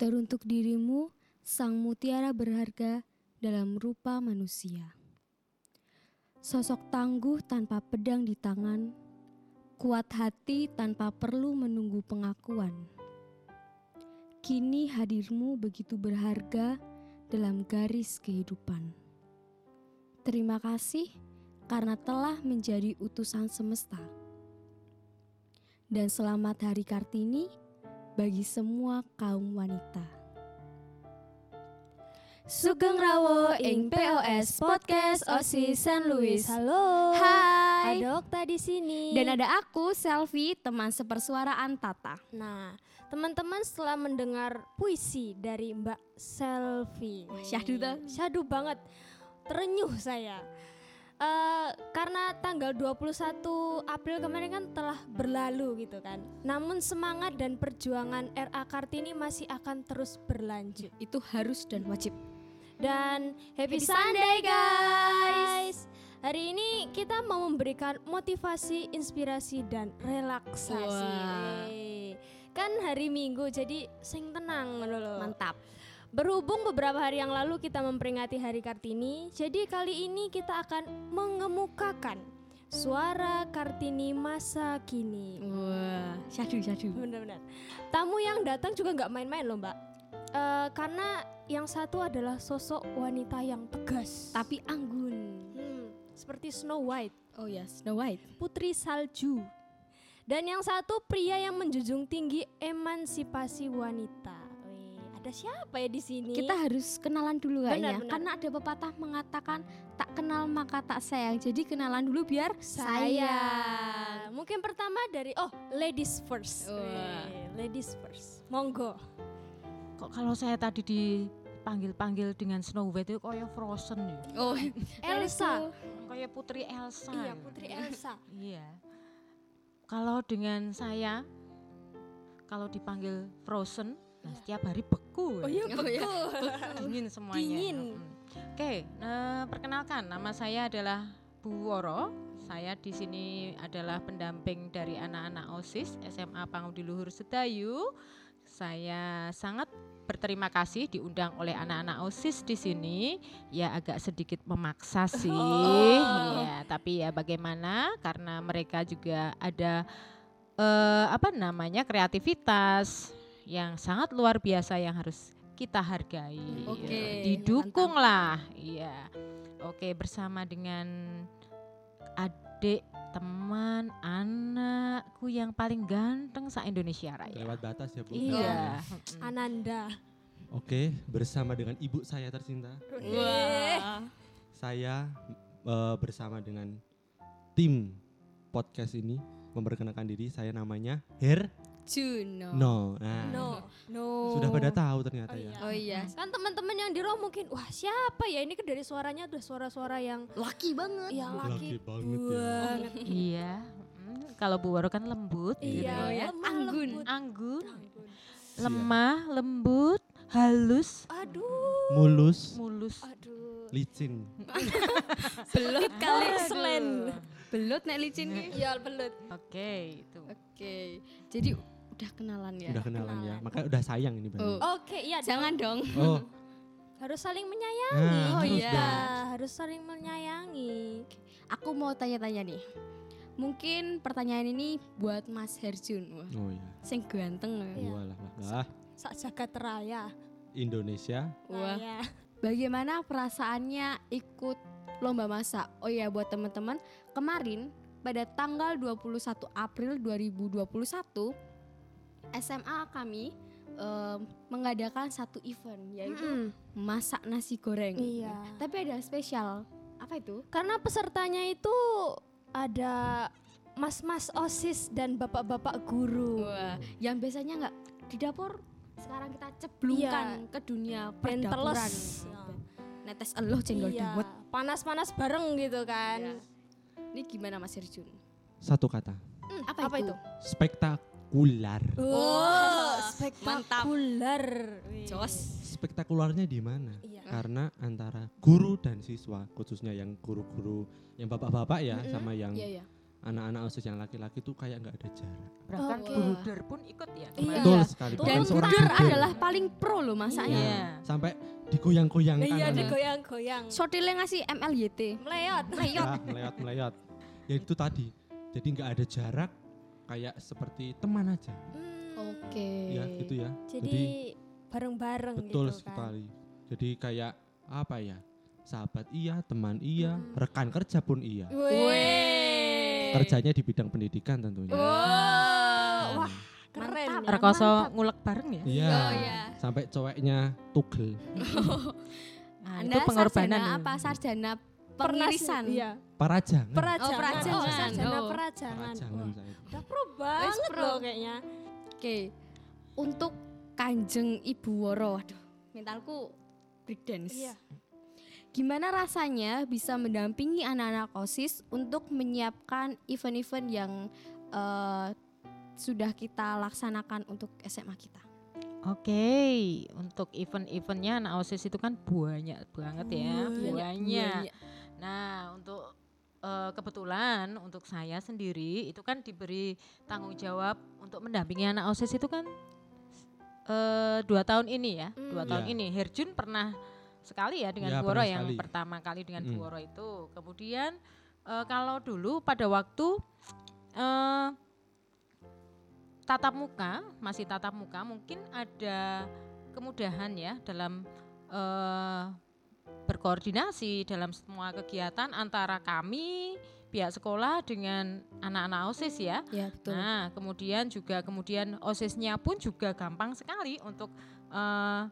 Teruntuk dirimu, sang mutiara berharga dalam rupa manusia. Sosok tangguh tanpa pedang di tangan, kuat hati tanpa perlu menunggu pengakuan. Kini hadirmu begitu berharga dalam garis kehidupan. Terima kasih karena telah menjadi utusan semesta. Dan selamat Hari Kartini bagi semua kaum wanita. Sugeng Rawo ing POS Podcast OSIS San Luis. Halo. Hai. Ada Okta di sini. Dan ada aku, Selfie, teman sepersuaraan Tata. Nah, teman-teman setelah mendengar puisi dari Mbak Selfie. Wah, syahdu tuh. Syahdu banget. Terenyuh saya. Eh, karena tanggal 21 April kemarin kan telah berlalu gitu kan. Namun semangat dan perjuangan RA Kartini masih akan terus berlanjut. Itu harus dan wajib. dan Happy happy, Sunday, Sunday guys. Hari ini kita mau memberikan motivasi, inspirasi dan relaksasi. Wah. Wey. Kan hari Minggu jadi sing tenang ngono lho. Mantap. Berhubung beberapa hari yang lalu kita memperingati Hari Kartini, jadi kali ini kita akan mengemukakan suara Kartini masa kini. Wah, syahdu, syahdu. Benar-benar. Tamu yang datang juga nggak main-main loh, Mbak. Eh, karena yang satu adalah sosok wanita yang tegas. Tapi anggun. Hmm, seperti Snow White, Oh ya, Snow White. putri salju. Dan yang satu pria yang menjunjung tinggi emansipasi wanita. Wih, ada siapa ya di sini? Kita harus kenalan dulu kayaknya. benar. Karena ada pepatah mengatakan tak kenal maka tak sayang. Jadi kenalan dulu biar sayang. sayang. Mungkin pertama dari oh, ladies first. Wah. Wih, ladies first. Monggo. Kok kalau saya tadi dipanggil-panggil dengan Snow White itu kayak Frozen ya? Oh, Elsa. Kayak Putri Elsa. Iya, ya? Putri Elsa. Iya. Kalau dengan saya kalau dipanggil Frozen, Iya. nah setiap hari beku. ya. Oh iya, Oh iya, betul. Dingin semuanya. Dingin. Mm. Oke, nah, perkenalkan nama saya adalah Bu Woro. Saya di sini adalah pendamping dari anak-anak OSIS SMA Pangudi Luhur Sedayu. Saya sangat berterima kasih diundang oleh anak-anak OSIS di sini. Ya agak sedikit memaksa sih. Oh. Iya, tapi ya bagaimana karena mereka juga ada eh, apa namanya? kreativitas yang sangat luar biasa yang harus kita hargai. Iya, Oke, Didukunglah. Iya. Oke, bersama dengan adik teman anakku yang paling ganteng sa Indonesia Raya. Lewat batas ya, Bu. Iya. Ananda. Oke, bersama dengan ibu saya tercinta. Wah. Saya eh, bersama dengan tim podcast ini memperkenalkan diri. Saya namanya Her Juno. No. Nah, No, no. Sudah pada tahu Oh ternyata ya. iya. Oh iya, Kan teman-teman yang di ruang mungkin, wah siapa ya ini kan dari suaranya udah suara-suara yang laki banget. ya laki, Laki banget ya. banget. Iya. Mm, Kalau Bu Waro kan lembut gitu Iya, ya. lemah, Anggun. lembut. Anggun, Anggun. Siap. lemah, lembut, halus, Aduh, Mulus, mulus. aduh. licin. Belut kali Aduh. selen. Belut nek licin ki. Iya, belut. Oke, itu. Oke. Jadi udah kenalan ya. Udah kenalan ya. kenalan. Makanya udah sayang ini Oh. banget. Oke, iya. Jangan dong. Oh. Harus saling menyayangi. Nah, Oh terus iya. dong. Ah, harus saling menyayangi. Aku mau tanya-tanya nih. Mungkin pertanyaan ini buat Mas Herjun. Wah, Oh iya. sing ganteng. ya. Iya. Walah, lah, lah. Sak jagat raya. Indonesia. Wah. Raya. Bagaimana perasaannya ikut lomba masak? Oh ya buat teman-teman, kemarin pada tanggal 21 April 2021 SMA kami eh, mengadakan satu event yaitu Mm-mm. masak nasi goreng. Iya. Tapi ada spesial. Apa itu? Karena pesertanya itu ada mas-mas OSIS dan bapak-bapak guru. Wah, yang biasanya nggak di dapur sekarang kita ceblungkan ke dunia Ben perdapuran. teles. Iya. Netes eloh cendol Iya, dawet. panas-panas bareng gitu kan. Ini gimana Mas Irjun? Satu kata. Hmm, Apa itu? Spektakuler. Oh, mantap. spektakuler. Wih. Spektakularnya di mana? Iya. karena antara guru dan siswa khususnya yang guru-guru yang bapak-bapak ya Mm-mm. sama yang Iya, iya. anak-anak OSIS yang laki-laki tuh kayak nggak ada jarak. Bahkan Oh, Bu wah. Huder pun ikut ya. Iya. kemarin. Betul sekali. Dan Dan bahkan seorang Buder leader. adalah paling pro loh masanya. Iya. sampai digoyang-goyangkan. Iya anak. digoyang-goyang. Sotilnya ngasih MLYT. Meleot. Ah, meleyot meleyot. Ya itu tadi. Jadi nggak ada jarak kayak seperti teman aja. Hmm, Oke. Ya gitu ya. Jadi bareng-bareng Betul gitu kan. sekali. Jadi kayak apa ya? Sahabat iya, teman iya, Mm. rekan kerja pun iya. Weh. Kerjanya di bidang pendidikan tentunya. Wow. Oh, Wah, keren. Mantap. ya. Rekoso ngulek bareng ya. Iya. Oh, iya. Sampai coweknya tugel. Nah, Anda itu pengorbanan. sarjana ya. apa sarjana Pernah sih, pengirisan? Iya. Parajangan. Perajangan. perajangan. Oh, sarjana Hmm. Oh. perajangan. Parajangan Wah, saya. Udah pro Wes banget pro. loh kayaknya. Oke. Untuk Kanjeng Ibu Woro, aduh, mentalku breakdance. Iya. Gimana rasanya bisa mendampingi anak-anak OSIS untuk menyiapkan event-event yang eh, sudah kita laksanakan untuk SMA kita? Oke, untuk event-eventnya anak OSIS itu kan banyak banget ya, Banyak, Iya, banyak. Nah, untuk eh, kebetulan untuk saya sendiri itu kan diberi tanggung jawab untuk mendampingi anak OSIS itu kan eh dua tahun ini ya, dua Hmm. tahun Iya. ini. Herjun pernah sekali ya dengan Iya, Bu Woro pernah yang sekali. pertama kali dengan Bu Mm. Woro itu. Kemudian eh, kalau dulu pada waktu eh tatap muka, masih tatap muka, mungkin ada kemudahan ya dalam eh, berkoordinasi dalam semua kegiatan antara kami pihak sekolah dengan anak-anak OSIS ya. Ya, Gitu. betul. Nah, kemudian juga kemudian OSIS-nya pun juga gampang sekali untuk eh,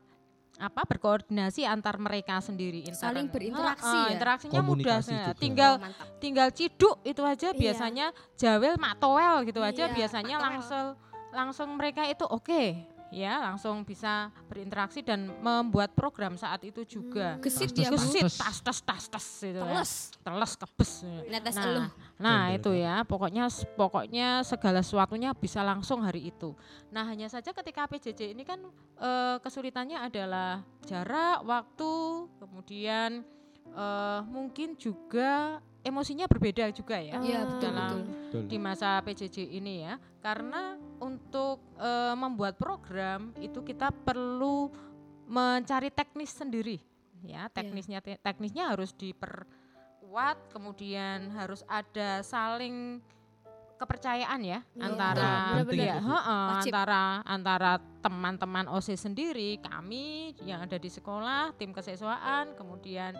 apa berkoordinasi antar mereka sendiri Inter- Saling berinteraksi Ah, ah, ya? interaksinya mudah Komunikasi sekali. juga. tinggal Oh, mantap. tinggal ciduk itu aja Iya. biasanya jawel matowel gitu aja Iya, biasanya matowel. langsung langsung mereka itu oke ya langsung bisa berinteraksi dan membuat program saat itu juga Hmm. Gesit Tas, dia, tas, Bang. gesit Pantes. tas tas tas tas gitu ya. Teles. teles kebes Netes Nah, elu. Nah Benar, itu ya pokoknya pokoknya segala sesuatunya bisa langsung hari itu. Nah hanya saja ketika PJJ ini kan eh, kesulitannya adalah jarak, waktu, kemudian eh, mungkin juga emosinya berbeda juga ya Iya, Ah. betul, betul. Betul. di masa PJJ ini ya. Karena untuk eh, membuat program itu kita perlu mencari teknis sendiri ya teknisnya te- teknisnya harus diperkuat kemudian harus ada saling kepercayaan ya Iya. antara Nah, penting ya, itu, Bu. heeh, Wajib. antara antara teman-teman OSIS sendiri kami yang ada di sekolah tim kesiswaan kemudian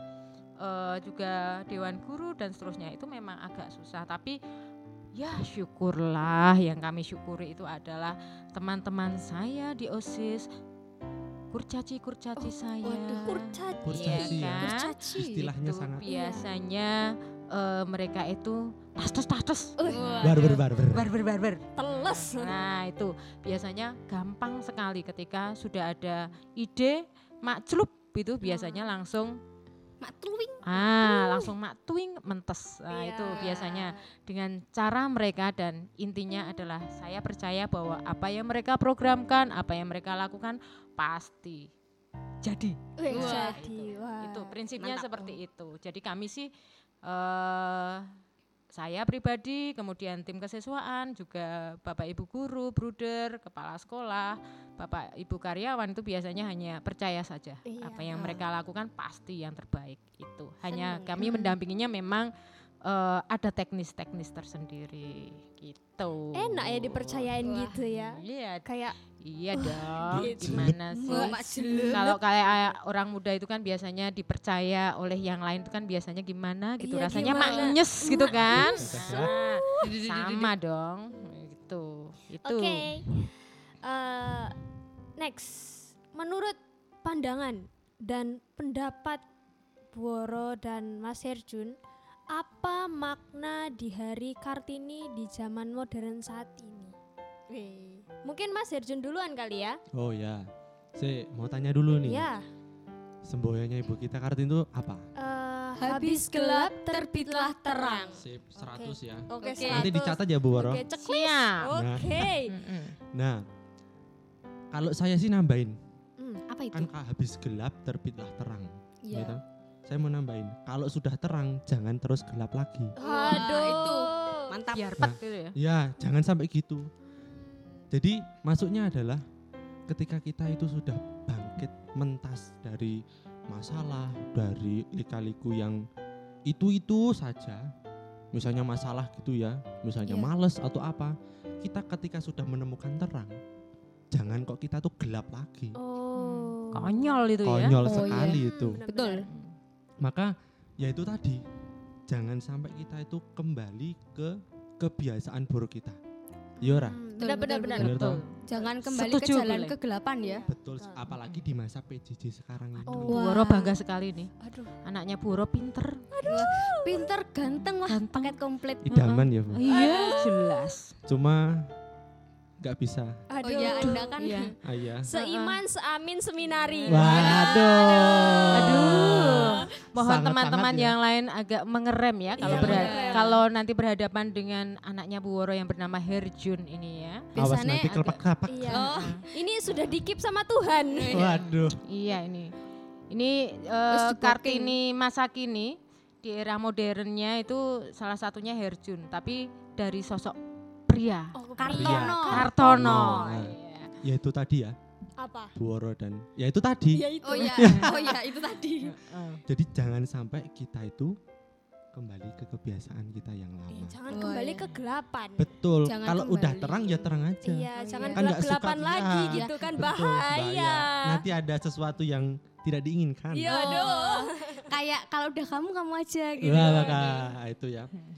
eh, juga dewan guru dan seterusnya itu memang agak susah tapi ya syukurlah yang kami syukuri itu adalah teman-teman saya di OSIS kurcaci kurcaci saya waduh, Oh, Kurcaci. Kurcaci Iya ya. kan? Kurcaci. Istilahnya Itu gitu, sangat biasanya eh, mereka itu tastus tastus Uh, Wah. barber barber. barber barber Teles. Iya. nah itu biasanya gampang sekali ketika sudah ada ide makjlub itu biasanya langsung Mak Truwing. ah langsung mak tuing mentes nah, Iya. itu biasanya dengan cara mereka dan intinya adalah saya percaya bahwa apa yang mereka programkan apa yang mereka lakukan pasti jadi Weh, Wah, jadi. Wah. itu prinsipnya Mantap. seperti itu jadi kami sih eh saya pribadi kemudian tim kesiswaan juga bapak ibu guru bruder kepala sekolah bapak ibu karyawan itu biasanya hanya percaya saja Iya. apa ya? yang mereka lakukan pasti yang terbaik itu Seneng. hanya Hmm. kami mendampinginya memang eh, ada teknis-teknis tersendiri gitu Enak ya dipercayain Wah. gitu ya. iya Kayak iya dong gitu. gimana sih Wah, Mak Jelek. kalau kayak eh, orang muda itu kan biasanya dipercaya oleh yang lain itu kan biasanya gimana gitu Iya, rasanya gimana? maknyes gitu kan Maknyes. Nah, sama dong gitu itu Oke. Eh, next, menurut pandangan dan pendapat Buoro dan Mas Herjun, apa makna di hari Kartini di zaman modern saat ini? Wih, Mungkin Mas Herjun duluan kali ya? Oh ya. Si mau tanya dulu nih. Ya. Semboyanya ibu kita Kartini itu apa? eh, Habis gelap, terbitlah terang. Sip, 100 ya. Oke, Oke. Nanti 100. dicatat ya Bu Waro. Oke, ceklis. siap Nah. Oke. Mm-mm. Nah, kalau saya sih nambahin Hmm, Apa itu? kan ka- habis gelap terbitlah terang. Iya. gitu. Saya mau nambahin kalau sudah terang jangan terus gelap lagi. Wah, Aduh. itu. Mantap. biar pet gitu ya. Ya, jangan sampai gitu. Jadi masuknya adalah ketika kita itu sudah bangkit mentas dari masalah, dari lika-liku yang itu-itu saja. Misalnya masalah gitu ya, misalnya Iya. males atau apa. Kita ketika sudah menemukan terang, jangan kok kita tuh gelap lagi. Oh. Konyol itu ya. Konyol Oh, iya. sekali itu. Betul. Maka ya itu tadi, jangan sampai kita itu kembali ke kebiasaan buruk kita. Iya Yora, Benar benar benar. Betul, toh? Jangan kembali ke Setuju, jalan boleh. kegelapan ya. Betul, Betul. apalagi di masa PJJ sekarang ini. Aduh. Bu Wah. Woro bangga sekali nih. Aduh, Anaknya Bu Woro pinter. pinter, ganteng wah, Ganteng. paket komplit. Idaman ya, Bu. Iya, jelas. Cuma nggak bisa Oh ya, Anda kan Iya. ayah. Seiman, seamin, seminari. Waduh. Aduh. Mohon Sangat-sangat teman-teman ya. yang lain agak mengerem ya kalau Iya, berha- mengerem. kalau nanti berhadapan dengan anaknya Bu Woro yang bernama Herjun ini ya. Awas Biasanya nanti agak- kelepak-kelepak. Iya. Oh. Ini sudah dikip sama Tuhan. Waduh. Iya ini. Ini eh, Terus diblocking. Kartini masa kini di era modernnya itu salah satunya Herjun, tapi dari sosok pria. Oh, Kartono. Kartono. Kartono. Iya. Iya. Ya itu tadi ya, Apa? Buoro dan ya itu tadi. Ya itu. Oh ya, oh ya itu tadi. Heeh. Jadi jangan sampai kita itu kembali ke kebiasaan kita yang Eh, lama. jangan Oh, kembali iya. ke gelapan. Betul. Jangan Kalau udah kembali. terang ya terang Iya, aja. Oh, jangan iya. Kan nggak suka gelap-gelapan dia. lagi Iya. gitu kan Betul, Nah, bahaya. Nanti ada sesuatu yang tidak diinginkan. Iya, Oh. aduh. Kayak kalau udah kamu kamu aja gitu. Wah, kan, iya. maka Nah, itu ya. Hmm.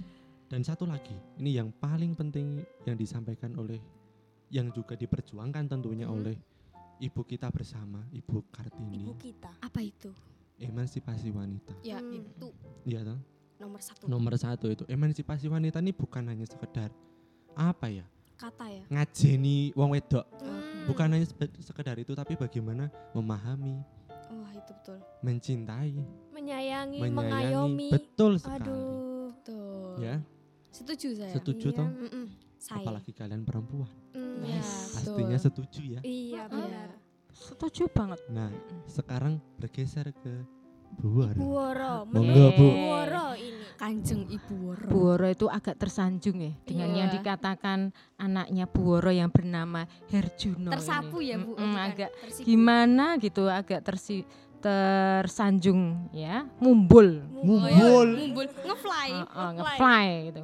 Dan satu lagi, ini yang paling penting yang disampaikan oleh yang juga diperjuangkan tentunya oleh ibu kita bersama, Ibu Kartini, Hmm. Ibu kita. Apa itu? emansipasi wanita. Ya Hmm. itu Iya toh? nomor satu Nomor satu itu emansipasi wanita ini bukan hanya sekedar apa ya kata ya. ngajeni wong wedok Hmm. bukan hanya sebe- sekedar itu tapi bagaimana memahami Oh, Wah, itu betul. mencintai menyayangi, mengayomi. menyayangi betul sekali Aduh. Betul. ya Setuju saya. setuju Iya. toh Mm-mm, Saya. apalagi kalian perempuan Mm, Iya, pastinya betul. setuju ya Iya, Heeh. benar. Setuju banget. Nah, sekarang bergeser ke buar. Buworo, Monggo, Bu. Buworo ini. Kanjeng Ibu Woro. Bu Woro itu agak tersanjung ya dengan yang Iya. dikatakan anaknya Bu Woro yang bernama Herjuno. ini. Tersapu ya, Bu. Mm-mm, Bukan agak tersipu. gimana gitu, agak tersi tersanjung ya, mumbul. Mumbul. Mumbul, Oh, ya, ngefly, Uh, Iya, uh, ngefly. ngefly gitu.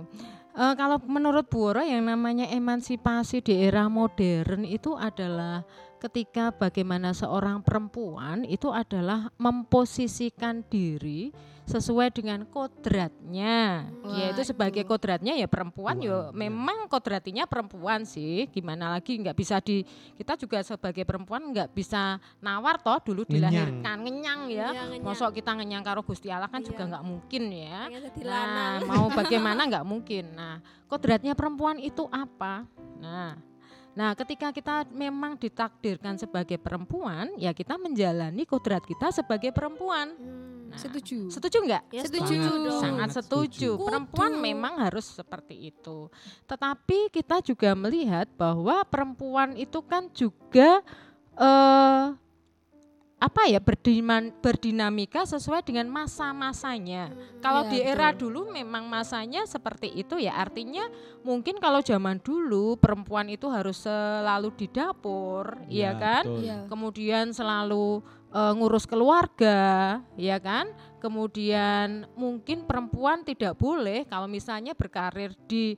Eh, kalau menurut Bu Woro yang namanya emansipasi di era modern itu adalah ketika bagaimana seorang perempuan itu adalah memposisikan diri sesuai dengan kodratnya. Iya, Dia itu sebagai Waduh. kodratnya ya perempuan Perempuan, yo ya. memang kodratinya perempuan sih. Gimana lagi nggak bisa di kita juga sebagai perempuan nggak bisa nawar toh dulu Ngenyang. dilahirkan ngenyang ya. Iya, ngenyang. Mosok kita ngenyang karo Gusti Allah kan juga Iya. nggak mungkin ya. Pengen jadi lanang. Nah, mau bagaimana nggak mungkin. Nah, kodratnya perempuan itu apa? Nah, nah ketika kita memang ditakdirkan sebagai perempuan, ya kita menjalani kodrat kita sebagai perempuan. Hmm. Nah, Setuju. Setuju nggak? Ya, Setuju. dong. Nah, Sangat setuju. setuju. Perempuan Kudu. memang harus seperti itu. Tetapi kita juga melihat bahwa perempuan itu kan juga eh apa ya berdiman, berdinamika sesuai dengan masa-masanya. Kalau Iya, di era betul. dulu memang masanya seperti itu ya. Artinya mungkin kalau zaman dulu perempuan itu harus selalu di dapur, ya, kan? betul. Iya. kemudian selalu eh, ngurus keluarga, ya kan? Kemudian mungkin perempuan tidak boleh kalau misalnya berkarir di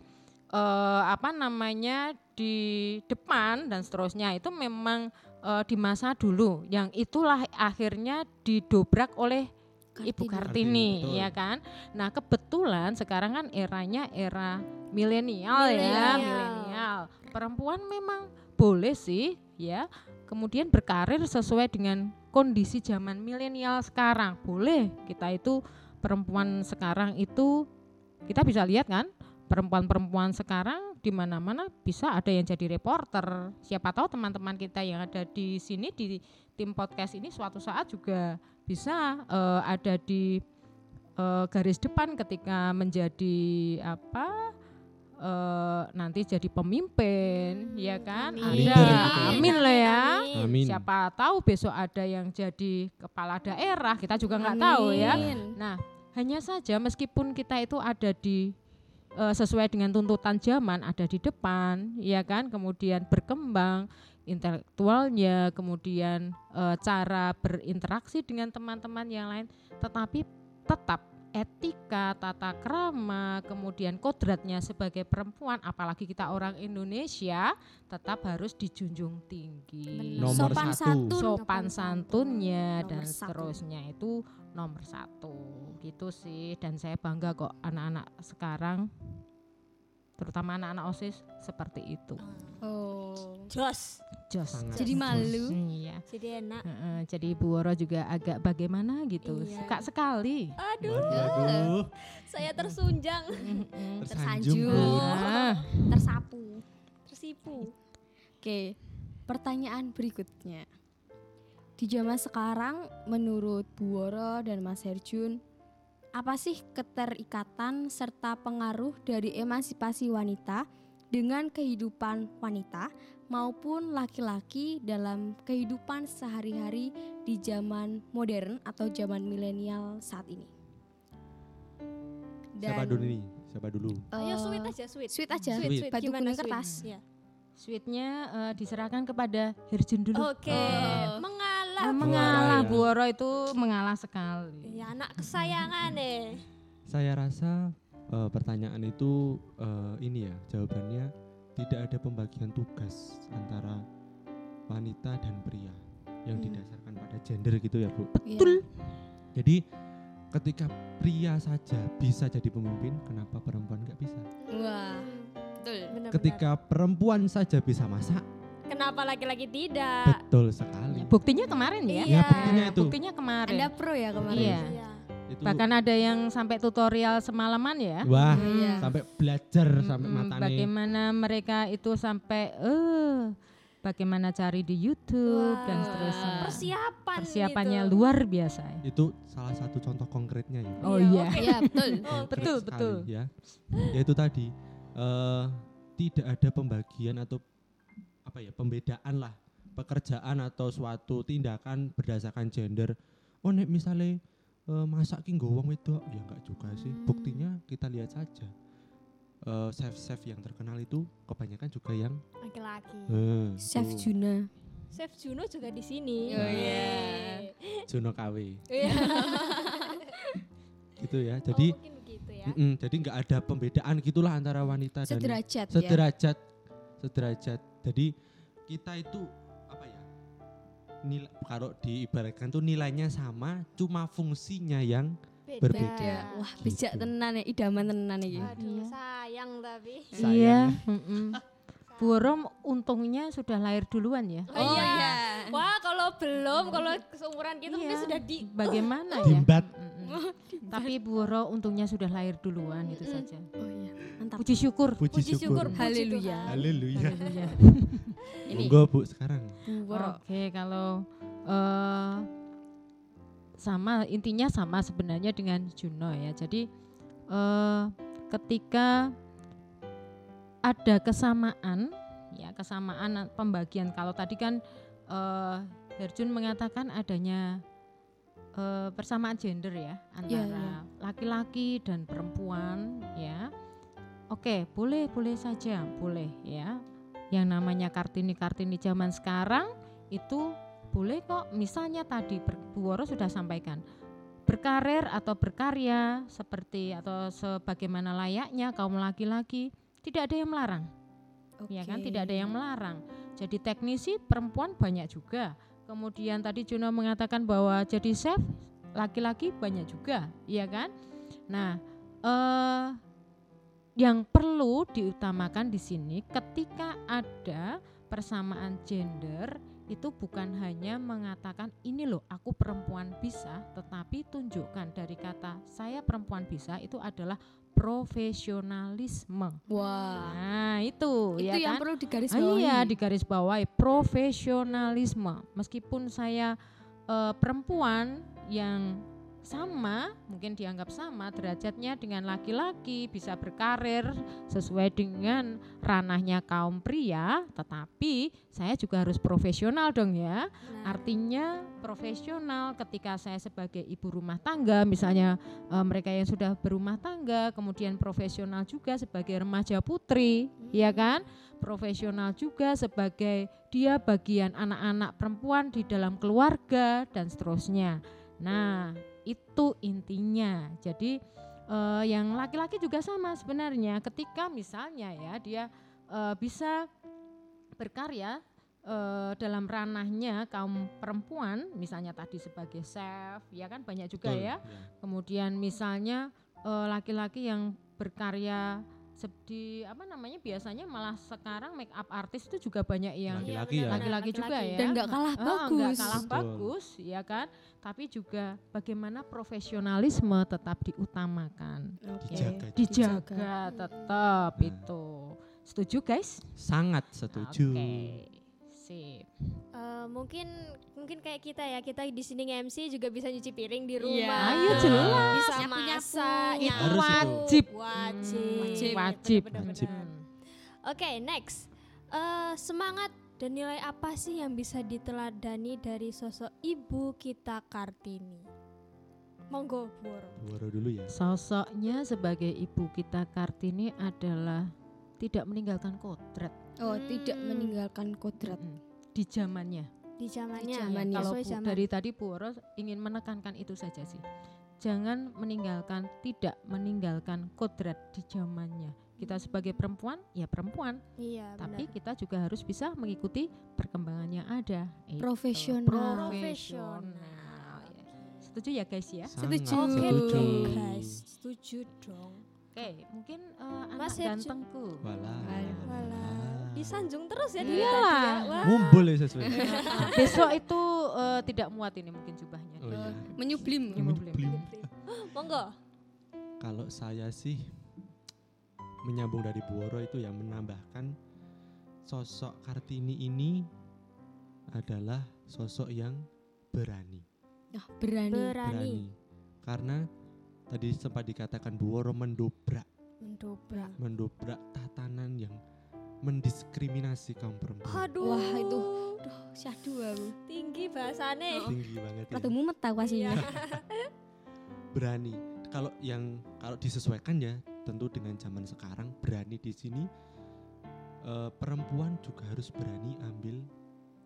eh, apa namanya di depan dan seterusnya itu memang eh, di masa dulu yang itulah akhirnya didobrak oleh Ibu Kartini, Kartini, betul. ya kan? Nah, kebetulan sekarang kan eranya era milenial ya, Milenial. milenial. Perempuan memang boleh sih, ya. Kemudian berkarir sesuai dengan kondisi zaman milenial sekarang. Boleh. Kita itu perempuan sekarang itu kita bisa lihat kan perempuan-perempuan sekarang di mana-mana bisa ada yang jadi reporter. Siapa tahu teman-teman kita yang ada di sini di tim podcast ini suatu saat juga bisa eh, ada di eh, garis depan ketika menjadi apa eh, nanti jadi pemimpin, ya kan? Hmm, Amin. Ada, Leader gitu ya. amin lah ya. Amin. Amin. Siapa tahu besok ada yang jadi kepala daerah, Hmm. kita juga nggak tahu ya. Amin. Nah, hanya saja meskipun kita itu ada di eh, sesuai dengan tuntutan zaman ada di depan, ya kan? Kemudian berkembang intelektualnya, kemudian eh, cara berinteraksi dengan teman-teman yang lain, tetapi tetap etika, tata krama, kemudian kodratnya sebagai perempuan, apalagi kita orang Indonesia, tetap harus dijunjung tinggi. Benar. Nomor sopan satu. santun. Sopan santunnya Nomor dan satu. seterusnya itu nomor satu gitu sih dan saya bangga kok anak-anak sekarang terutama anak-anak osis seperti itu. Oh. Jos. Jos. Sangat Jadi jos. malu. Iya. Jadi enak. Heeh, jadi Bu Woro juga agak bagaimana gitu, Iya. suka sekali. Aduh, Waduh, waduh. saya tersunjang, Mm-mm. Tersanjung. Bu. Nah, Tersapu. tersipu. Oke, pertanyaan berikutnya. Di zaman sekarang, menurut Bu Woro dan Mas Herjun, apa sih keterikatan serta pengaruh dari emansipasi wanita dengan kehidupan wanita maupun laki-laki dalam kehidupan sehari-hari di zaman modern atau zaman milenial saat ini? Siapa dulu nih? Siapa dulu? Ayo Oh. eh, sweet aja, sweet. sweet aja, Sweet. batu Gimana kuning sweet? kertas. Iya. Sweetnya eh, diserahkan kepada Hirjun dulu. Oke, Ah. mengalah. Eh, Bu. mengalah Woro ya. Bu Woro itu mengalah sekali. Ya anak kesayangan nih. Saya rasa eh, pertanyaan itu eh, ini ya jawabannya tidak ada pembagian tugas antara wanita dan pria yang Hmm. didasarkan pada gender gitu ya bu. Iya. Jadi ketika pria saja bisa jadi pemimpin, kenapa perempuan nggak bisa? Iya, Wah, betul. Benar-benar. Ketika perempuan saja bisa masak, Kenapa laki-laki Iya. tidak? betul sekali. Buktinya kemarin ya. Iya. Ya, buktinya itu. Buktinya kemarin. Anda pro ya kemarin? Iya. Iya. Itu Bahkan ada yang sampai tutorial semalaman ya. wah Iya. sampai belajar sampai Mm-mm, matane. Bagaimana mereka itu sampai eh bagaimana cari di YouTube dan Wah, seterusnya. Persiapan. Persiapannya gitu. luar biasa. ya. Itu salah satu contoh konkretnya ya. Oh Iya, iya. Iya, betul. Oh, Konkret Betul, sekali, betul. Ya, yaitu tadi eh tidak ada pembagian atau apa ya pembedaan lah pekerjaan atau suatu tindakan berdasarkan gender. Oh nek misalnya eh, masak ki nggo wong wedok ya enggak juga sih. Hmm. Buktinya kita lihat saja. Eh chef-chef yang terkenal itu kebanyakan juga yang Laki-laki. eh, Chef tuh, Juna. Chef Juno juga di sini. Oh, iya. Juno KW. Iya. Gitu ya. Jadi Oh, mungkin begitu ya. mm-mm, jadi nggak ada pembedaan gitulah antara wanita dan Sederajat ya. sederajat sederajat jadi kita itu apa ya nilai kalau diibaratkan tuh nilainya sama cuma fungsinya yang Beda. Berbeda. Wah, bijak Gitu. tenan ya, idaman tenan iki. Aduh, Iya. sayang tapi. Sayang. Iya. mm-mm. Bu Woro untungnya sudah lahir duluan ya. Oh, iya. Wah, kalau belum, kalau seumuran gitu mungkin Iya. sudah di Bagaimana ya? Dimbat. Mm-mm. Tapi Bu Woro untungnya sudah lahir duluan itu saja. Oh iya, mantap. Puji syukur. puji, puji syukur. syukur, puji Haleluya. Tuhan. haleluya Iya. Ini monggo bu sekarang Buworo. Oke, kalau eh sama intinya sama sebenarnya dengan Juno ya. Jadi eh ketika ada kesamaan ya, kesamaan pembagian kalau tadi kan eh Herjun mengatakan adanya eh, persamaan gender ya Iya, antara laki-laki dan perempuan ya. Oke, boleh boleh saja, boleh ya. Yang namanya Kartini-Kartini zaman sekarang itu boleh kok misalnya tadi Ber- Bu Woro sudah sampaikan berkarir atau berkarya seperti atau sebagaimana layaknya kaum laki-laki tidak ada yang melarang ya kan tidak ada yang melarang jadi teknisi perempuan banyak juga kemudian tadi Juno mengatakan bahwa jadi chef laki-laki banyak juga ya kan nah eh yang perlu diutamakan di sini ketika ada persamaan gender itu bukan hanya mengatakan ini loh aku perempuan bisa tetapi tunjukkan dari kata saya perempuan bisa itu adalah profesionalisme. Wah. Nah, itu, Itu ya yang kan? perlu digaris Ah, bawahi. Iya, di garis bawahi profesionalisme. Meskipun saya eh, perempuan yang sama, mungkin dianggap sama derajatnya dengan laki-laki, bisa berkarir sesuai dengan ranahnya kaum pria, tetapi saya juga harus profesional dong Nah, ya. Artinya profesional ketika saya sebagai ibu rumah tangga misalnya eh, mereka yang sudah berumah tangga kemudian profesional juga sebagai remaja putri ya kan profesional juga sebagai dia bagian anak-anak perempuan di dalam keluarga dan seterusnya. Nah, itu intinya. Jadi eh, yang laki-laki juga sama sebenarnya ketika misalnya ya dia eh, bisa berkarya eh, dalam ranahnya kaum perempuan misalnya tadi sebagai chef ya kan banyak juga Betul, Iya. ya kemudian misalnya eh, laki-laki yang berkarya sep- di apa namanya biasanya malah sekarang make up artis itu juga banyak yang iya, Laki-laki ya. benar-benar, laki-laki juga ya dan nggak kalah Ah, bagus. nggak kalah Betul. bagus ya kan tapi juga bagaimana profesionalisme tetap diutamakan Oke. Dijaga. dijaga tetap Nah. itu setuju guys Sangat setuju. oke sip eh, mungkin mungkin kayak kita ya, kita di sini nge-MC juga bisa nyuci piring di Iya. rumah. Ayo, Ah, jelas. Bisa Nyapu-nyapu. masak, Itu nyapu. wajib. Wajib. Hmm, Wajib. wajib Bener-bener, Wajib. bener. Oke, next. Eh, semangat dan nilai apa sih yang bisa diteladani dari sosok ibu kita Kartini? Monggo, Bu Oro. Buaro dulu ya. sosoknya sebagai ibu kita kartini adalah tidak meninggalkan kodrat Oh, tidak Hmm. meninggalkan kodrat. Mm-mm. di zamannya di zamannya. Di ya, zamannya. Iya, kalau Sesuai Bu- zaman. dari tadi Puro ingin menekankan itu saja sih jangan meninggalkan tidak meninggalkan kodrat di zamannya kita sebagai perempuan ya perempuan Iya, benar. tapi kita juga harus bisa mengikuti perkembangan yang ada Itu. Profesional. profesional ya. setuju ya guys ya Sangat Setuju. Oke setuju. dong, guys, setuju dong. oke mungkin eh, anak Mas Herjo. gantengku Walah. Walah. Ah. Walah, disanjung terus ya Iya. dia tadi Iyalah. ya. Wah. Mumbul ya sesuai. besok itu eh, tidak muat ini mungkin jubahnya Oh iya. Menyublim. Yang belum. Belum. Monggo. Kalau saya sih menyambung dari Buoro itu ya menambahkan sosok Kartini ini adalah sosok yang berani. Nah, berani. Berani Karena tadi sempat dikatakan Buoro mendobrak, mendobrak. mendobrak tatanan yang mendiskriminasi kaum perempuan. Aduh. Hmm. Wah, itu. Oh. Aduh, syahdu aku. tinggi bahasane. Iya. Tinggi banget ya. Ratu mumet aku aslinya. berani. Kalau yang kalau disesuaikan ya tentu dengan zaman sekarang berani di sini eh, perempuan juga harus berani ambil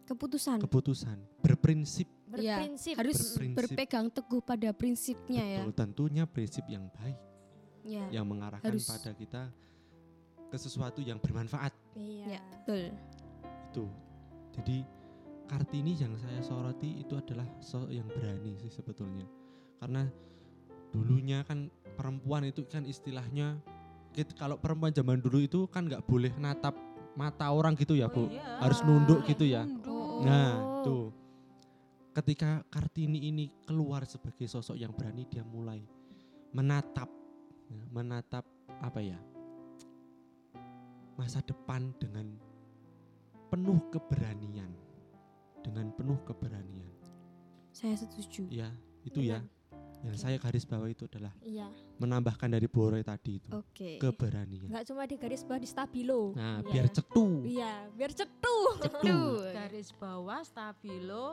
Keputusan. keputusan, berprinsip Iya, Berprinsip. harus Berprinsip. berpegang teguh pada prinsipnya ya. betul tentunya prinsip yang baik Ya, yang mengarahkan Harus. pada kita ke sesuatu yang bermanfaat ya Iya. betul. itu. Jadi Kartini yang saya soroti itu adalah sosok yang berani sih sebetulnya. Karena dulunya kan perempuan itu kan istilahnya kit- kalau perempuan zaman dulu itu kan nggak boleh natap mata orang gitu ya, iya. Oh, Bu. iya. Harus nunduk gitu ya. Oh. Nah, tuh. Ketika Kartini ini keluar sebagai sosok yang berani, dia mulai menatap ya, menatap apa ya? masa depan dengan penuh keberanian. Dengan penuh keberanian. Saya setuju. Ya, itu Iya. ya. Yang saya garis bawah itu adalah Iya. menambahkan dari Boroy tadi itu, Oke. keberanian. Enggak cuma di garis bawah di stabilo. Hmm. Nah, Iya. biar cetu. Iya, biar cetu. Iya, cetu. Gitu, ya. garis bawah stabilo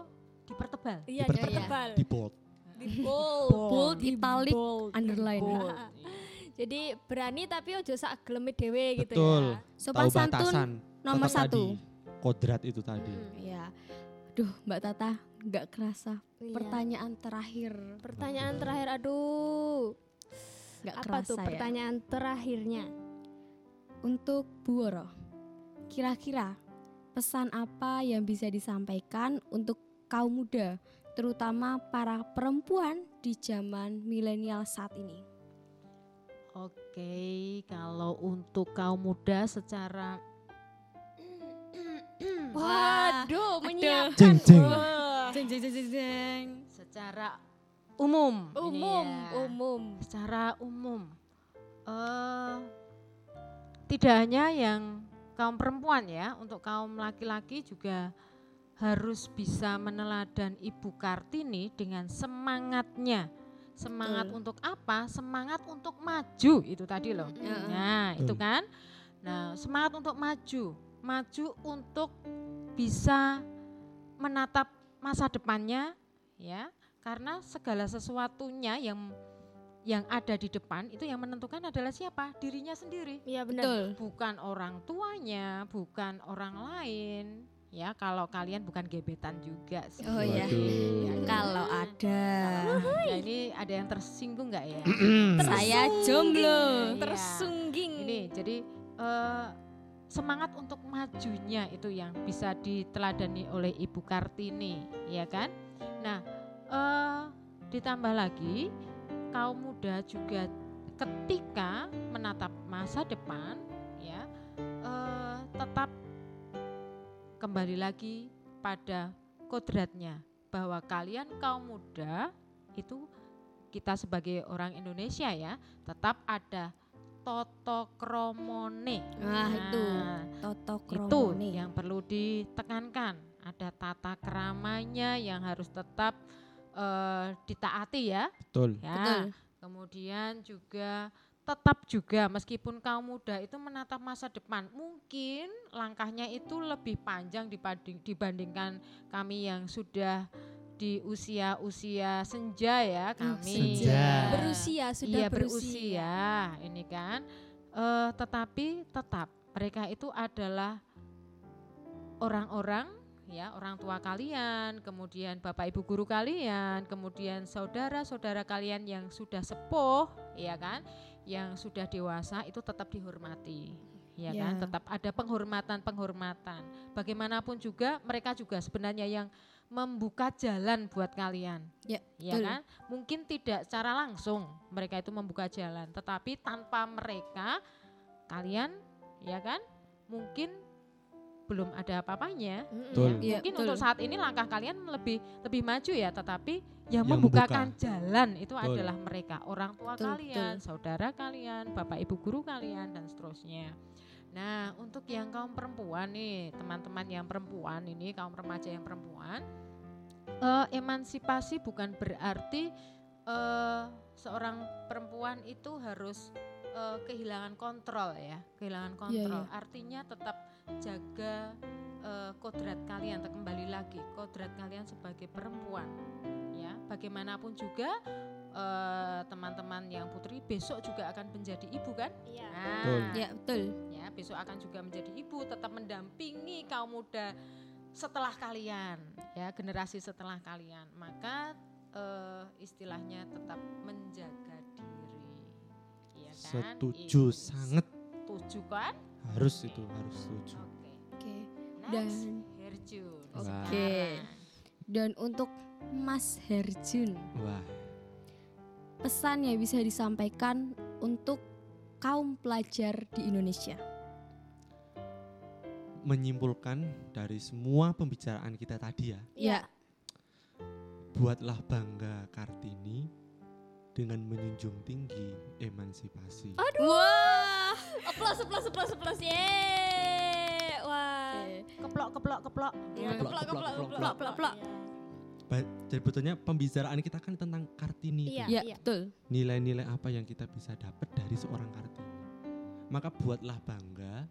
dipertebal Iya, Dipertebal. dipertebal. Di bold. Di bold. Bold, Di italic, bold. underline. Bold. iya. Jadi berani tapi ojo sak geleme dhewe gitu Betul. ya. Sopan Tahu santun batasan. nomor Tetap satu. Tadi, kodrat itu tadi. Mm-mm. Ya. Duh, Mbak Tata, nggak kerasa. Iya. Pertanyaan terakhir, Pertanyaan terakhir, aduh, nggak apa kerasa tuh ya. pertanyaan terakhirnya? Untuk Buoro, kira-kira pesan apa yang bisa disampaikan untuk kaum muda, terutama para perempuan di zaman milenial saat ini? Oke, kalau untuk kaum muda secara Hmm. Waduh, Oh, menyiapkan Jeng, jeng. Wah. Jeng jeng jeng jeng. jeng. secara umum. umum, Iya. umum. Secara umum. eh tidak hanya yang kaum perempuan ya, untuk kaum laki-laki juga harus bisa meneladan Ibu Kartini dengan semangatnya. Semangat Betul. untuk apa? Semangat untuk maju itu tadi loh. Heeh. Nah, itu Betul. kan. Nah, semangat untuk maju, maju untuk bisa menatap masa depannya ya. Karena segala sesuatunya yang yang ada di depan itu yang menentukan adalah siapa? Dirinya sendiri Iya benar. Betul. bukan orang tuanya, bukan orang lain. Ya, kalau kalian bukan gebetan juga sih. Oh, iya. Waduh. Kalau ada Ya, ini ada yang tersinggung nggak ya? Iya, saya jomblo. Iya. Tersungging. ini jadi eh, semangat untuk majunya itu yang bisa diteladani oleh Ibu Kartini, ya kan? Nah, eh, ditambah lagi kaum muda juga ketika menatap masa depan, ya eh, tetap kembali lagi pada kodratnya bahwa kalian kaum muda itu kita sebagai orang Indonesia ya tetap ada toto kromone. Nah, itu Nah, Toto itu Kromo nih. ya. yang perlu ditekankan. Ada tata keramanya yang harus tetap eh, ditaati ya. Betul. Ya. Betul. Kemudian juga tetap juga meskipun kaum muda itu menatap masa depan, mungkin langkahnya itu lebih panjang dibanding, dibandingkan kami yang sudah di usia-usia senja ya kami. senja. Ya. Berusia sudah iya, berusia. berusia ini kan. Eh, tetapi tetap mereka itu adalah orang-orang ya orang tua kalian, kemudian bapak ibu guru kalian, kemudian saudara saudara kalian yang sudah sepuh, ya kan, yang sudah dewasa itu tetap dihormati, ya Iya. kan, Ya. tetap ada penghormatan penghormatan. Bagaimanapun juga mereka juga sebenarnya yang membuka jalan buat kalian, Ya, ya betul. kan, mungkin tidak secara langsung mereka itu membuka jalan, tetapi tanpa mereka kalian, ya kan, mungkin belum ada apa-apanya ya. Mm-mm. Betul. Iya, mungkin betul. untuk saat ini langkah kalian lebih lebih maju ya tetapi yang, Yang membukakan jalan itu Betul. adalah mereka orang tua Betul, kalian saudara kalian bapak ibu guru kalian dan seterusnya nah untuk yang kaum perempuan nih teman-teman yang perempuan ini kaum remaja yang perempuan eh, emansipasi bukan berarti eh, seorang perempuan itu harus eh, kehilangan kontrol ya kehilangan kontrol artinya tetap jaga eh, kodrat kalian atau kembali lagi kodrat kalian sebagai perempuan ya bagaimanapun juga eh, teman-teman yang putri besok juga akan menjadi ibu kan Iya. Betul. nah Ya, betul. ya besok akan juga menjadi ibu tetap mendampingi kaum muda setelah kalian ya generasi setelah kalian maka eh, istilahnya tetap menjaga diri ya kan Setuju iya. Itu. sangat setuju kan harus itu harus setuju. oke Oke. next Dan- Herjun Oke. sekarang. Dan untuk Mas Herjun, Wah, pesan yang bisa disampaikan untuk kaum pelajar di Indonesia. menyimpulkan dari semua pembicaraan kita tadi Iya. ya, iya. Ya, buatlah bangga Kartini dengan menjunjung tinggi emansipasi. Aduh. Wah. Aplaus aplaus aplaus aplaus. Yeay. Wah. keplok keplok keplok Ya, Keplak, keplak, keplak, keplak. Ba- Jadi betulnya pembicaraan kita kan tentang Kartini. gitu. Iya. itu. ya, betul. Nilai-nilai apa yang kita bisa dapat dari seorang Kartini. Maka buatlah bangga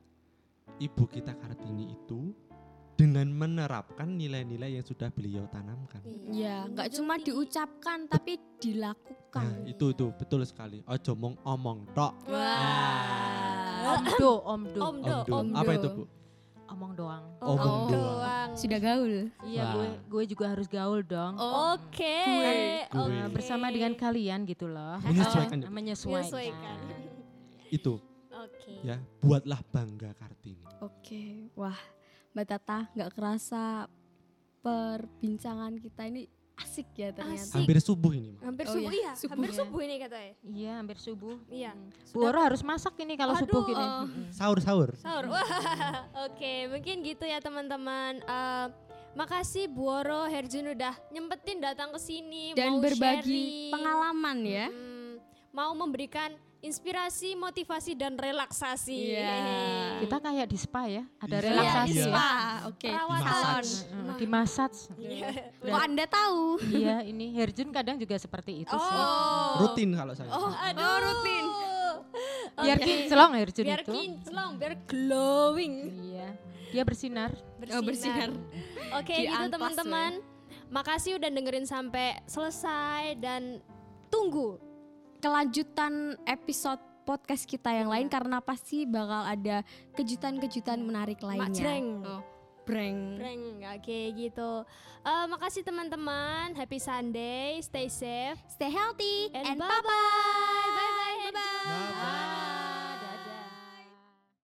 ibu kita Kartini itu dengan menerapkan nilai-nilai yang sudah beliau tanamkan. Iya. Ya, nggak menjunjung cuma tinggi. diucapkan tapi Nah, dilakukan. itu itu betul sekali. Ojo mong omong tok. Wah. omdo omdo Omdo. Omdo. Omdo. Apa itu, Bu? omong doang Omong Oh. doang. Doang. Sudah gaul. iya Wah. gue gue juga harus gaul dong Oke. Gue. oke. Gue. Eh, bersama dengan kalian gitu loh Menyesuaikan. Eh, menyesuaikan Menyesuaikan. Itu Oke. ya, buatlah bangga Kartini. Oke, wah, Mbak Tata nggak kerasa perbincangan kita ini asik ya ternyata. Asik. Hampir subuh ini, Mak. Hampir Oh subuh iya, iya, subuh. hampir Iya. subuh ini katanya. iya hampir subuh Hmm. Iya. Bu Oro harus masak ini kalau Aduh, subuh gini Hmm. eh. Mm-mm. Sahur-sahur. Sahur. Iya. Wah. Oke, mungkin gitu ya teman-teman. Eh, makasih Buoro Herjun udah nyempetin datang ke sini Dan mau berbagi sharing. pengalaman ya. Mm, mau memberikan inspirasi, motivasi dan relaksasi. Iya. Hehehe. Kita kayak di spa ya, ada Iya, relaksasi Iya, Iya. spa. Oke. Perawatan. Salon. Dimassage. Heeh, di massage. Iya. Kok Anda tahu? Iya, ini Herjun kadang juga seperti itu sih. Oh. rutin kalau saya Oh, aduh. Oh, rutin. Biar Oke. kinclong Herjun biar itu. kinclong, biar glowing, Iya. Dia bersinar. Oh, bersinar. bersinar. Oke, Di gitu amplas, teman-teman. Makasih udah dengerin sampai selesai dan tunggu. Kelanjutan episode podcast kita yang Iya. lain karena pasti bakal ada kejutan-kejutan menarik lainnya. jreng. Oh, breng. Breng. Oke, gitu. Eh, makasih teman-teman. Happy Sunday. Stay safe Stay healthy and and, bye-bye. Nah, Ah,